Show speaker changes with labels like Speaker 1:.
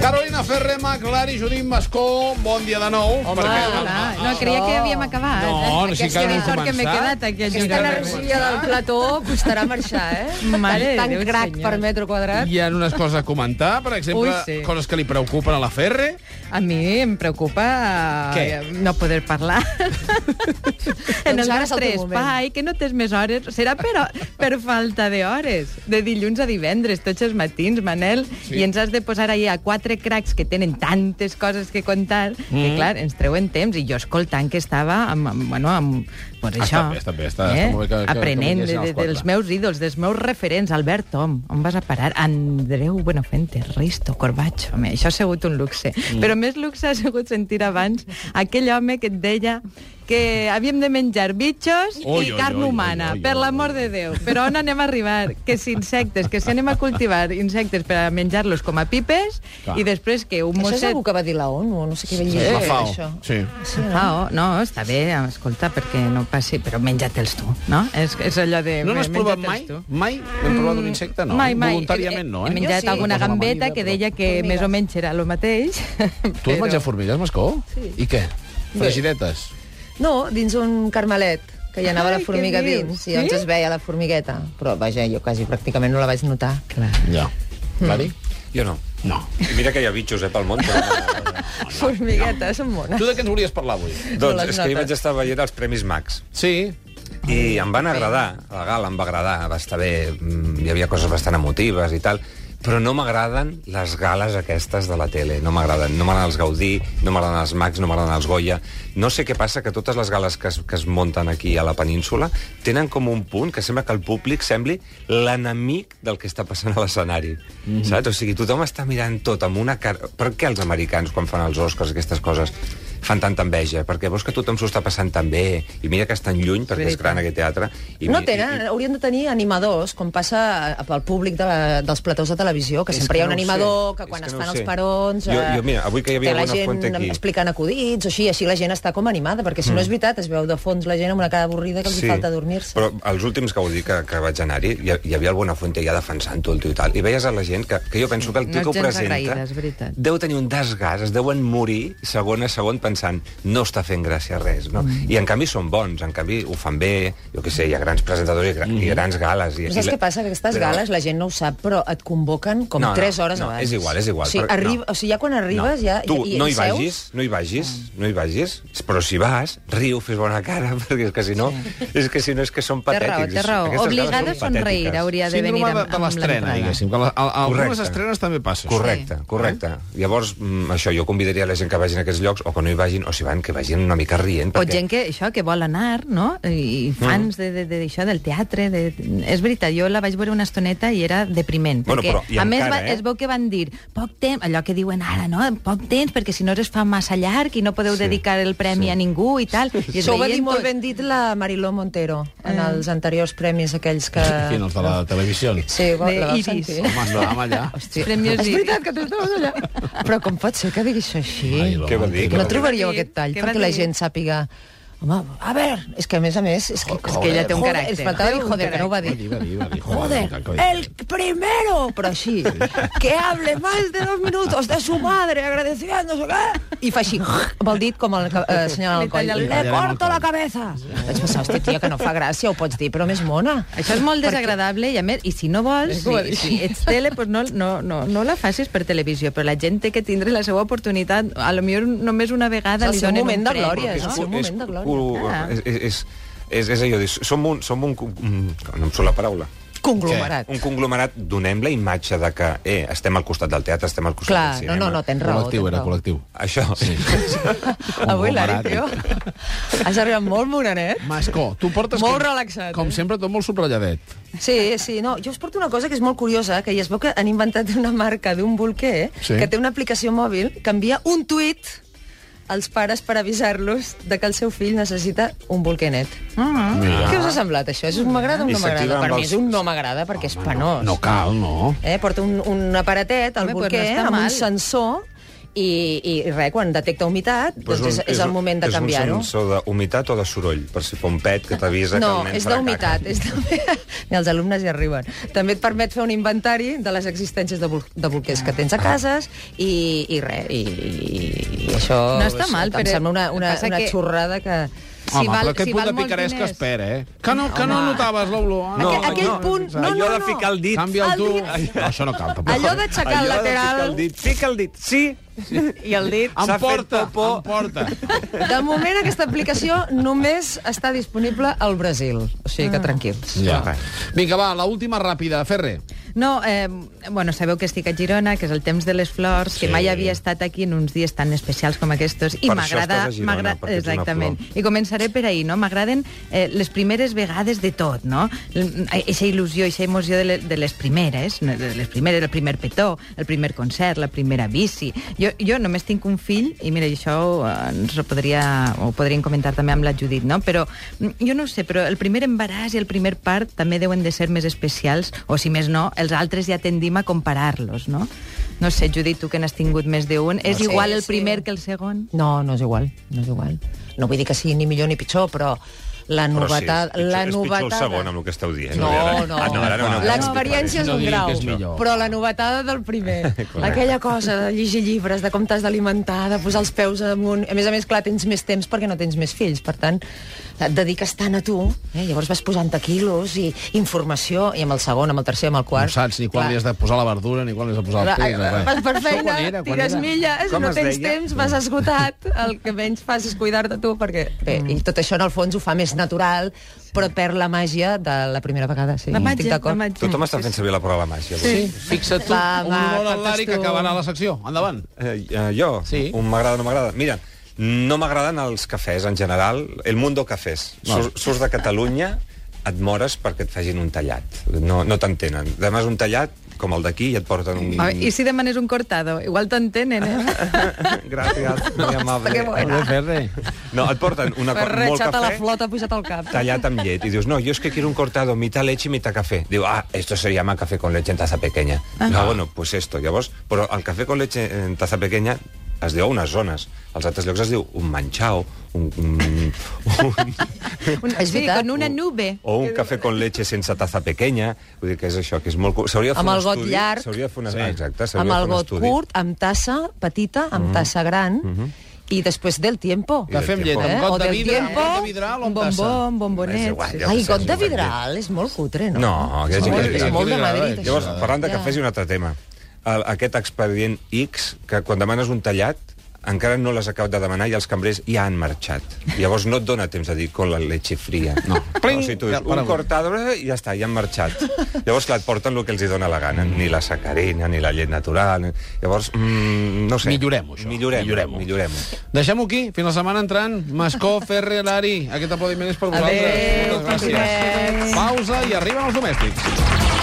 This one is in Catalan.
Speaker 1: Carolina Ferrer, Maclari, Judit Mascó, bon dia de nou.
Speaker 2: Home,
Speaker 3: Ah,
Speaker 2: hola. No, creia que havíem acabat.
Speaker 1: Ah. No, no, si
Speaker 2: Aquesta
Speaker 1: encara no hem
Speaker 2: sort que m'he
Speaker 1: començat.
Speaker 2: quedat aquí.
Speaker 3: Aquesta energia del plató costarà marxar, eh?
Speaker 2: Mare
Speaker 3: tant
Speaker 2: de Déu,
Speaker 3: crac
Speaker 2: senyor.
Speaker 3: per metro quadrat.
Speaker 1: Hi ha unes coses a comentar, per exemple,
Speaker 2: Ui, sí.
Speaker 1: coses que li preocupen a la Ferre.
Speaker 2: A mi em preocupa eh,
Speaker 1: Què?
Speaker 2: no poder parlar. en
Speaker 3: Doncs
Speaker 2: el
Speaker 3: ara és el
Speaker 2: nostre
Speaker 3: teu moment.
Speaker 2: espai, que no tens més hores. Serà per, per falta d'hores. De dilluns a divendres, tots els matins, Manel.
Speaker 1: Sí.
Speaker 2: Sí. I ens has de posar ahir a quatre cracs que tenen tantes coses que contar, mm. que, clar, ens treuen temps. I jo escoltant que estava amb, amb, bueno, amb pues
Speaker 1: Ah,
Speaker 2: això. eh,
Speaker 1: està bé, està bé, està- està molt bé que- que- que
Speaker 2: Aprenent
Speaker 1: vinguessin
Speaker 2: de,
Speaker 1: els
Speaker 2: de, dels
Speaker 1: quatre.
Speaker 2: meus ídols, dels meus referents. Albert Tom, on vas a parar? Andreu Buenafuente, Risto, Corbacho. Home, això ha sigut un luxe. Mm. Però més luxe ha sigut sentir abans aquell home que et deia que havíem de menjar bitxos
Speaker 1: Oi,
Speaker 2: i
Speaker 1: oi,
Speaker 2: carn
Speaker 1: oi, oi,
Speaker 2: humana,
Speaker 1: oi,
Speaker 2: per
Speaker 1: oi,
Speaker 2: l'amor
Speaker 1: oi.
Speaker 2: de Déu. Però on anem a arribar? Que si insectes, que si anem a cultivar insectes per a menjar-los com a pipes
Speaker 1: Clar.
Speaker 2: i després que un
Speaker 3: Això és
Speaker 2: mosset...
Speaker 3: algú que va dir la ONU, no sé què va dir.
Speaker 1: la FAO.
Speaker 3: Això.
Speaker 1: Sí.
Speaker 3: eh?
Speaker 2: Ah, oh, no, està bé, escolta, perquè no passi, però menja-te'ls tu, no? És, és allò de...
Speaker 1: No n'has provat
Speaker 2: menja-te'ls
Speaker 1: mai?
Speaker 2: Eh, tu.
Speaker 1: Mai?
Speaker 2: Mm.
Speaker 1: Hem provat un insecte? No.
Speaker 2: Mai, mai.
Speaker 1: Voluntàriament no,
Speaker 2: He
Speaker 1: eh?
Speaker 2: menjat
Speaker 3: Jo sí.
Speaker 2: alguna
Speaker 1: Poso la mà
Speaker 2: gambeta
Speaker 1: lliure,
Speaker 2: que
Speaker 1: però-
Speaker 2: deia que
Speaker 3: Formigues.
Speaker 2: més o menys era el mateix.
Speaker 1: Tu has menjat formigues, Mascó? Sí. I què? Fregidetes?
Speaker 3: No, dins un carmelet que hi anava
Speaker 2: Ai,
Speaker 3: la formiga
Speaker 2: què dius?
Speaker 3: dins i doncs
Speaker 2: Sí?
Speaker 3: es veia la formigueta. Però, vaja, jo quasi pràcticament no la vaig notar.
Speaker 2: Clar.
Speaker 1: Ja.
Speaker 2: Mm.
Speaker 1: Mari?
Speaker 4: Jo no.
Speaker 1: No.
Speaker 4: I mira que hi ha bitxos, eh, pel món. Però...
Speaker 3: Formiguetes, són
Speaker 1: Tu
Speaker 3: mones.
Speaker 1: de què ens volies parlar avui?
Speaker 4: doncs
Speaker 3: les
Speaker 4: és
Speaker 3: notes.
Speaker 4: que ahir vaig estar veient els Premis Max.
Speaker 1: Sí.
Speaker 4: I em van agradar, la gala em va agradar, va estar bé, mm, hi havia coses bastant emotives i tal, però no m'agraden les gales aquestes de la tele, no m'agraden, no m'agraden els Gaudí, no m'agraden els Max, no m'agraden els Goya. No sé què passa, que totes les gales que es, que es munten aquí a la península tenen com un punt que sembla que el públic sembli l'enemic del que està passant a l'escenari, mm
Speaker 3: Mhm.
Speaker 4: -hmm. saps? O sigui, tothom està mirant tot amb una cara... Per què els americans, quan fan els Oscars, aquestes coses, fan tanta enveja? Perquè veus que tothom s'ho està passant tan bé, i mira que estan lluny, perquè és
Speaker 2: veritat.
Speaker 4: gran aquest teatre. I
Speaker 3: No
Speaker 4: mi-
Speaker 3: tenen,
Speaker 4: i-
Speaker 3: haurien de tenir animadors, com passa pel públic de la, dels platós de televisió, que
Speaker 4: És
Speaker 3: sempre
Speaker 4: que
Speaker 3: hi ha un
Speaker 4: no ho sé.
Speaker 3: animador,
Speaker 4: És
Speaker 3: que quan
Speaker 4: que
Speaker 3: es
Speaker 4: no
Speaker 3: fan
Speaker 4: ho
Speaker 3: els
Speaker 4: sé.
Speaker 3: parons...
Speaker 4: Jo-
Speaker 3: eh,
Speaker 4: jo, mira, avui que hi havia
Speaker 3: té la
Speaker 4: alguna fuente
Speaker 3: gent
Speaker 4: aquí. Mm.
Speaker 3: explicant acudits, o així, així la gent està com animada, perquè si no és veritat, es veu de fons la gent amb una cara avorrida que els sí. falta dormir-se.
Speaker 4: Però els últims que vull dir que, que vaig anar-hi, hi, ha- hi havia el Buenafuente ja defensant-ho, el tio i tal. I veies a la gent que, que jo penso que el
Speaker 2: No
Speaker 4: tio que ho
Speaker 2: gens
Speaker 4: presenta...
Speaker 2: agraïda, és veritat.
Speaker 4: Deu tenir un desgast, es deuen morir segon a segon pensant no està fent gràcia res, no? Mm. I en canvi són bons, en canvi ho fan bé, jo què sé, hi ha grans presentadors i, gra mm. i grans gales. I,
Speaker 3: Però saps
Speaker 4: i la-
Speaker 3: què passa? Que aquestes
Speaker 4: però-
Speaker 3: gales la gent no ho sap, però et convoquen com
Speaker 4: No, no,
Speaker 3: 3 hores
Speaker 4: no,
Speaker 3: abans.
Speaker 4: és igual, és igual,
Speaker 3: O sigui,
Speaker 4: però-
Speaker 3: arriba,
Speaker 4: no.
Speaker 3: o sigui ja quan arribes... Ja,
Speaker 4: Tu
Speaker 3: ja,
Speaker 4: no hi
Speaker 3: seus,
Speaker 4: vagis, no hi vagis,
Speaker 2: Ah.
Speaker 4: no hi vagis, però si vas, riu, fes bona cara, perquè és que si no, és que si no és que són
Speaker 2: Té
Speaker 4: patètics.
Speaker 2: raó, té raó.
Speaker 4: Aquestes gales
Speaker 2: Obligada a
Speaker 4: són
Speaker 2: somreir
Speaker 4: patètiques.
Speaker 2: hauria de venir
Speaker 1: Síndrome de,
Speaker 2: amb,
Speaker 1: de
Speaker 2: amb
Speaker 1: l'estrena,
Speaker 2: l'entrada.
Speaker 1: diguéssim. Que la, a, a algunes
Speaker 4: Correcte.
Speaker 1: estrenes també passa això.
Speaker 4: Correcte,
Speaker 2: Sí. Ah.
Speaker 4: correcte. Llavors, mm, això, jo convidaria la gent que vagin a aquests llocs, o que no hi vagin, o si van, que vagin una mica rient.
Speaker 2: O gent que, això, que vol anar, no? I i fans mm. de, de, de, això, del teatre... De... És veritat, jo la vaig veure una estoneta i era depriment.
Speaker 4: Bueno,
Speaker 2: perquè,
Speaker 4: però, i
Speaker 2: a més,
Speaker 4: encara,
Speaker 2: va,
Speaker 4: eh?
Speaker 2: es veu que van dir poc temps, allò que diuen ara, no? Poc temps, perquè si no es fa massa llarg i no podeu sí. dedicar el premi sí. a ningú i tal. I es
Speaker 3: Això ho va
Speaker 2: veien
Speaker 3: dir molt
Speaker 2: tots-
Speaker 3: ben dit la Mariló Montero en els anteriors premis aquells que...
Speaker 1: Quin, els de la televisió?
Speaker 3: Sí, va,
Speaker 2: De
Speaker 3: la vau
Speaker 2: Iris.
Speaker 3: sentir.
Speaker 1: Home, estàvem allà.
Speaker 3: Hòstia,
Speaker 2: Premis
Speaker 3: és
Speaker 2: Iris.
Speaker 3: veritat que tu estaves allà. Però com pot ser que diguis així?
Speaker 1: Ai, la
Speaker 4: Què vol
Speaker 1: mare.
Speaker 4: dir? Què
Speaker 3: no
Speaker 4: vol dir?
Speaker 3: trobaríeu
Speaker 2: Què va dir?
Speaker 3: aquest tall
Speaker 2: Què va
Speaker 3: perquè la
Speaker 2: dir?
Speaker 3: gent sàpiga... Home, a veure, és que a més a més... És que,
Speaker 2: És que ella té un
Speaker 3: joder,
Speaker 2: caràcter.
Speaker 3: Es faltava dir,
Speaker 2: Té un
Speaker 3: joder, que no ho va dir.
Speaker 1: Va dir, va dir, va dir.
Speaker 3: Joder,
Speaker 1: va dir, va dir.
Speaker 3: el primero, pero así, que hable más de dos minutos de su madre agradecida, no sé què. I fa així, vol dit com el que eh, assenyala el coll.
Speaker 2: Li talla el-
Speaker 3: Le
Speaker 1: Tallarem el
Speaker 3: corto la cabeza. Vaig pensar, hòstia, tia, que no fa gràcia, ho pots dir, però més mona.
Speaker 2: Això és molt desagradable i, a més, i si no vols,
Speaker 3: És com a
Speaker 2: si,
Speaker 3: dir.
Speaker 2: si ets tele, doncs no, no, no, no la facis per televisió, però la gent té que tindre la seva oportunitat, a lo millor només una vegada
Speaker 3: És el
Speaker 2: li
Speaker 3: seu
Speaker 2: donen
Speaker 3: moment
Speaker 2: un
Speaker 3: de
Speaker 2: premi.
Speaker 3: glòria, és
Speaker 2: no?
Speaker 3: el seu moment de glòria.
Speaker 4: cu-
Speaker 2: Ah.
Speaker 4: És, és, és, és, és allò, dius, som un... Som un cu- mm, no em surt la paraula.
Speaker 3: Conglomerat.
Speaker 4: Un conglomerat, donem la imatge de que eh, estem al costat del teatre, estem al costat
Speaker 3: Clar,
Speaker 4: del
Speaker 3: no,
Speaker 4: cinema.
Speaker 3: no, no, tens raó.
Speaker 1: Col·lectiu,
Speaker 3: tens
Speaker 1: era
Speaker 3: raó.
Speaker 1: col·lectiu.
Speaker 4: Això. Sí.
Speaker 3: Avui, Lari,
Speaker 1: Conglomerat.
Speaker 3: tio, has arribat molt moranet.
Speaker 1: Mascó, tu portes...
Speaker 3: Molt
Speaker 1: com-
Speaker 3: relaxat,
Speaker 1: Com
Speaker 3: eh?
Speaker 1: sempre, tot molt subratlladet.
Speaker 3: Sí, sí, no, jo us porto una cosa que és molt curiosa, que ja es veu que han inventat una marca d'un bolquer
Speaker 1: Sí.
Speaker 3: sí. que té una aplicació mòbil que envia un tuit als pares per avisar-los de que el seu fill necessita un bolquenet.
Speaker 2: Ah.
Speaker 1: Mira.
Speaker 3: Què us ha semblat, això? És un m'agrada o un
Speaker 4: I
Speaker 3: no m'agrada?
Speaker 4: s'activa
Speaker 3: Per
Speaker 4: amb
Speaker 3: mi
Speaker 4: els-
Speaker 3: és un no m'agrada perquè és penós.
Speaker 1: No cal, no.
Speaker 3: Eh, porta un, un aparatet al
Speaker 2: Home,
Speaker 3: bolquer
Speaker 2: pues no està
Speaker 3: amb
Speaker 2: mal.
Speaker 3: un sensor i, i res, quan detecta humitat,
Speaker 4: Però
Speaker 3: doncs és,
Speaker 4: un-
Speaker 3: és, el
Speaker 4: un-
Speaker 3: moment de canviar-ho.
Speaker 4: És un so d'humitat o de soroll? Per si fa un pet que t'avisa que
Speaker 3: No,
Speaker 4: el nen
Speaker 3: és
Speaker 4: farà
Speaker 3: d'humitat.
Speaker 4: caca.
Speaker 3: És de... Ni els alumnes hi arriben. També et permet fer un inventari de les existències de, bol de bolquers que tens a cases i, i res. I, i, i això
Speaker 2: No està mal,
Speaker 3: em
Speaker 2: però
Speaker 3: sembla una, una,
Speaker 2: passa
Speaker 3: una
Speaker 2: que-
Speaker 3: xorrada que...
Speaker 2: Si
Speaker 5: Home,
Speaker 2: val-
Speaker 5: però aquest
Speaker 2: si
Speaker 5: punt
Speaker 2: val
Speaker 5: de
Speaker 2: molts
Speaker 5: picaresca
Speaker 2: diners.
Speaker 5: espera, eh? Que no, que no
Speaker 3: Home.
Speaker 5: notaves l'olor. Ah,
Speaker 3: Aquell- aquell punt- no,
Speaker 4: allò
Speaker 3: no,
Speaker 4: de
Speaker 3: no.
Speaker 4: ficar el dit.
Speaker 5: Canvia'l
Speaker 3: el
Speaker 5: tu.
Speaker 3: dit.
Speaker 5: Ai, no, això no cal, tampoc.
Speaker 3: Allò d'aixecar el
Speaker 4: Allò de Fica
Speaker 3: lateral...
Speaker 4: el dit, fica el dit, sí.
Speaker 2: I el dit...
Speaker 4: S'ha
Speaker 5: Em
Speaker 4: fet
Speaker 5: porta,
Speaker 4: popó.
Speaker 5: em porta.
Speaker 3: De moment, aquesta aplicació només està disponible al Brasil. O sigui que tranquils.
Speaker 1: Ja.
Speaker 5: Vinga, va, la última ràpida, Ferre.
Speaker 2: No, eh, bueno, sabeu que estic a Girona, que és el temps de les flors, que
Speaker 4: Sí.
Speaker 2: mai havia estat aquí en uns dies tan especials com aquests, i
Speaker 4: Per això
Speaker 2: m'agrada...
Speaker 4: estàs a Girona,
Speaker 2: m'agra-
Speaker 4: perquè ets una
Speaker 2: Exactament.
Speaker 4: flor.
Speaker 2: I començaré per ahir, no? M'agraden eh, les primeres vegades de tot, no? eh, Eixa il·lusió, eixa emoció de, le, de les primeres, no? de les primeres, el primer petó, el primer concert, la primera bici. Jo, jo només tinc un fill, i mira, i això eh, ens ho, podria, ho podríem comentar també amb la Judit, no? Però mm, jo no ho sé, però el primer embaràs i el primer part també deuen de ser més especials, o si més no, els altres ja tendim a comparar-los, no? No sé, Judit, tu que n'has tingut més d'un, és
Speaker 3: Sí,
Speaker 2: igual el
Speaker 3: sí.
Speaker 2: primer que el segon?
Speaker 3: No, no és igual, no és igual. No vull dir que sigui ni millor ni pitjor, però la
Speaker 4: Però sí,
Speaker 3: novetat...
Speaker 4: és pitjor-
Speaker 3: la
Speaker 4: és pitjor
Speaker 3: novetada...
Speaker 4: el segon, amb el que esteu dient.
Speaker 3: No,
Speaker 4: Ara-
Speaker 3: no.
Speaker 4: Ah, no, ara no, no.
Speaker 3: L'experiència és
Speaker 5: No
Speaker 3: un
Speaker 5: diguin
Speaker 3: grau,
Speaker 5: que és millor.
Speaker 3: però la novetada del primer.
Speaker 4: Correcte.
Speaker 3: Aquella cosa de llegir llibres, de com t'has d'alimentar, de posar els peus amunt... A més a més, clar, tens més temps perquè no tens més fills, per tant, et dediques tant a tu, eh? llavors vas posant-te quilos i informació, i amb el segon, amb el tercer, amb el
Speaker 5: No
Speaker 3: quart...
Speaker 5: saps ni quan
Speaker 3: clar,
Speaker 5: li has de posar la verdura, ni quan li has de posar el
Speaker 3: Clar,
Speaker 5: peix, ni
Speaker 3: eh,
Speaker 5: res.
Speaker 3: vas per
Speaker 5: Això
Speaker 3: feina,
Speaker 5: quan era, quan
Speaker 3: tires
Speaker 5: era?
Speaker 3: milles,
Speaker 4: Com
Speaker 3: no
Speaker 4: es
Speaker 3: tens
Speaker 4: deia?
Speaker 3: temps, vas esgotat, el que menys fas és cuidar-te tu, perquè bé, i tot això en el fons ho fa més natural, però perd la màgia de la primera vegada. Sí,
Speaker 2: La
Speaker 3: estic
Speaker 2: màgia, la
Speaker 3: d'acord.
Speaker 2: màgia.
Speaker 4: Tothom està fent servir la paraula màgia. avui.
Speaker 5: Sí, fixa't tu,
Speaker 3: Va,
Speaker 5: un
Speaker 3: va,
Speaker 5: honor al
Speaker 3: faltes
Speaker 5: Lari que
Speaker 3: tu.
Speaker 5: acabarà la secció. Endavant.
Speaker 4: Eh, eh, jo?
Speaker 5: Sí.
Speaker 4: Un m'agrada, no m'agrada? Mira, no m'agraden els cafès en general, el mundo cafès. Sur, surts de Catalunya, et mores perquè et facin un tallat. No, no t'entenen. Demanes un tallat, com el d'aquí, i et porten un...
Speaker 2: A ver, I si demanes un cortado? Igual t'entenen, eh?
Speaker 4: Gràcies, muy amable.
Speaker 3: que buena.
Speaker 5: Molt bé, Ferre.
Speaker 4: No, et porten una,
Speaker 3: Per
Speaker 4: molt
Speaker 3: reixat a la
Speaker 4: cafè,
Speaker 3: flor t'ha pujat al cap.
Speaker 4: tallat amb llet. I dius, no, yo es que quiero un cortado mitad leche y mitad café. Digo, ah, esto se llama café con leche en taza pequeña.
Speaker 3: Ah.
Speaker 4: No, bueno, pues esto, llavors. Però el cafè con leche en taza pequeña es diu a unes zones. Als altres llocs es diu un manchao, un... un, un
Speaker 2: Un,
Speaker 3: És
Speaker 2: sí,
Speaker 3: veritat.
Speaker 2: con una nube.
Speaker 4: o un cafè con leche sense taza pequeña. Vull dir que és això, que és molt... cu- S'hauria de fer
Speaker 3: Amb
Speaker 4: un
Speaker 3: el got
Speaker 4: estudi,
Speaker 3: llarg.
Speaker 4: S'hauria de fer una...
Speaker 5: Sí.
Speaker 4: Sí. Exacte, s'hauria
Speaker 3: Amb
Speaker 4: de
Speaker 3: el
Speaker 4: fer un
Speaker 3: got
Speaker 4: estudi.
Speaker 3: curt, amb tassa petita, amb tassa gran, i després del tiempo.
Speaker 4: I del
Speaker 5: Cafè amb llet,
Speaker 4: tiempo.
Speaker 5: amb
Speaker 3: Eh? O
Speaker 5: got de
Speaker 3: del
Speaker 5: vidre, amb
Speaker 3: tiempo,
Speaker 5: got de vidral o
Speaker 2: Un
Speaker 5: amb tassa.
Speaker 2: bombón, bombonet.
Speaker 4: És igual,
Speaker 2: sí.
Speaker 4: ja
Speaker 3: Ai,
Speaker 4: sé,
Speaker 3: got
Speaker 4: sí,
Speaker 3: de
Speaker 4: també.
Speaker 3: vidral, és molt cutre, no?
Speaker 4: No, que hi ha
Speaker 3: és
Speaker 4: gent que
Speaker 3: molt,
Speaker 4: li
Speaker 3: és
Speaker 4: agrada.
Speaker 3: molt de
Speaker 5: Qui li agrada, qui li
Speaker 3: Madrid, això.
Speaker 4: Llavors,
Speaker 5: agrada.
Speaker 4: parlant de
Speaker 3: Ja.
Speaker 4: cafès i un altre tema. El, aquest expedient X, que quan demanes un tallat, encara no l'has acabat de demanar i els cambrers ja han marxat. Llavors no et dona temps de dir con la leche fría. No. Però si tu
Speaker 5: Ja,
Speaker 4: dius,
Speaker 5: para
Speaker 4: un
Speaker 5: avui.
Speaker 4: cortador i ja està, ja han marxat. Llavors, clar, et porten el que els hi dona la gana. Ni la sacarina, ni la llet natural. ni- Llavors, mm, no sé.
Speaker 5: Millorem-ho, això.
Speaker 4: Millorem,
Speaker 5: Millorem-ho.
Speaker 4: millorem, millorem
Speaker 5: Deixem-ho aquí. Fins la setmana entrant. Mascó, Ferre, Lari. Aquest aplaudiment és per vosaltres.
Speaker 2: Adéu,
Speaker 5: Moltes gràcies.
Speaker 2: petitets.
Speaker 5: Pausa i arriben els domèstics.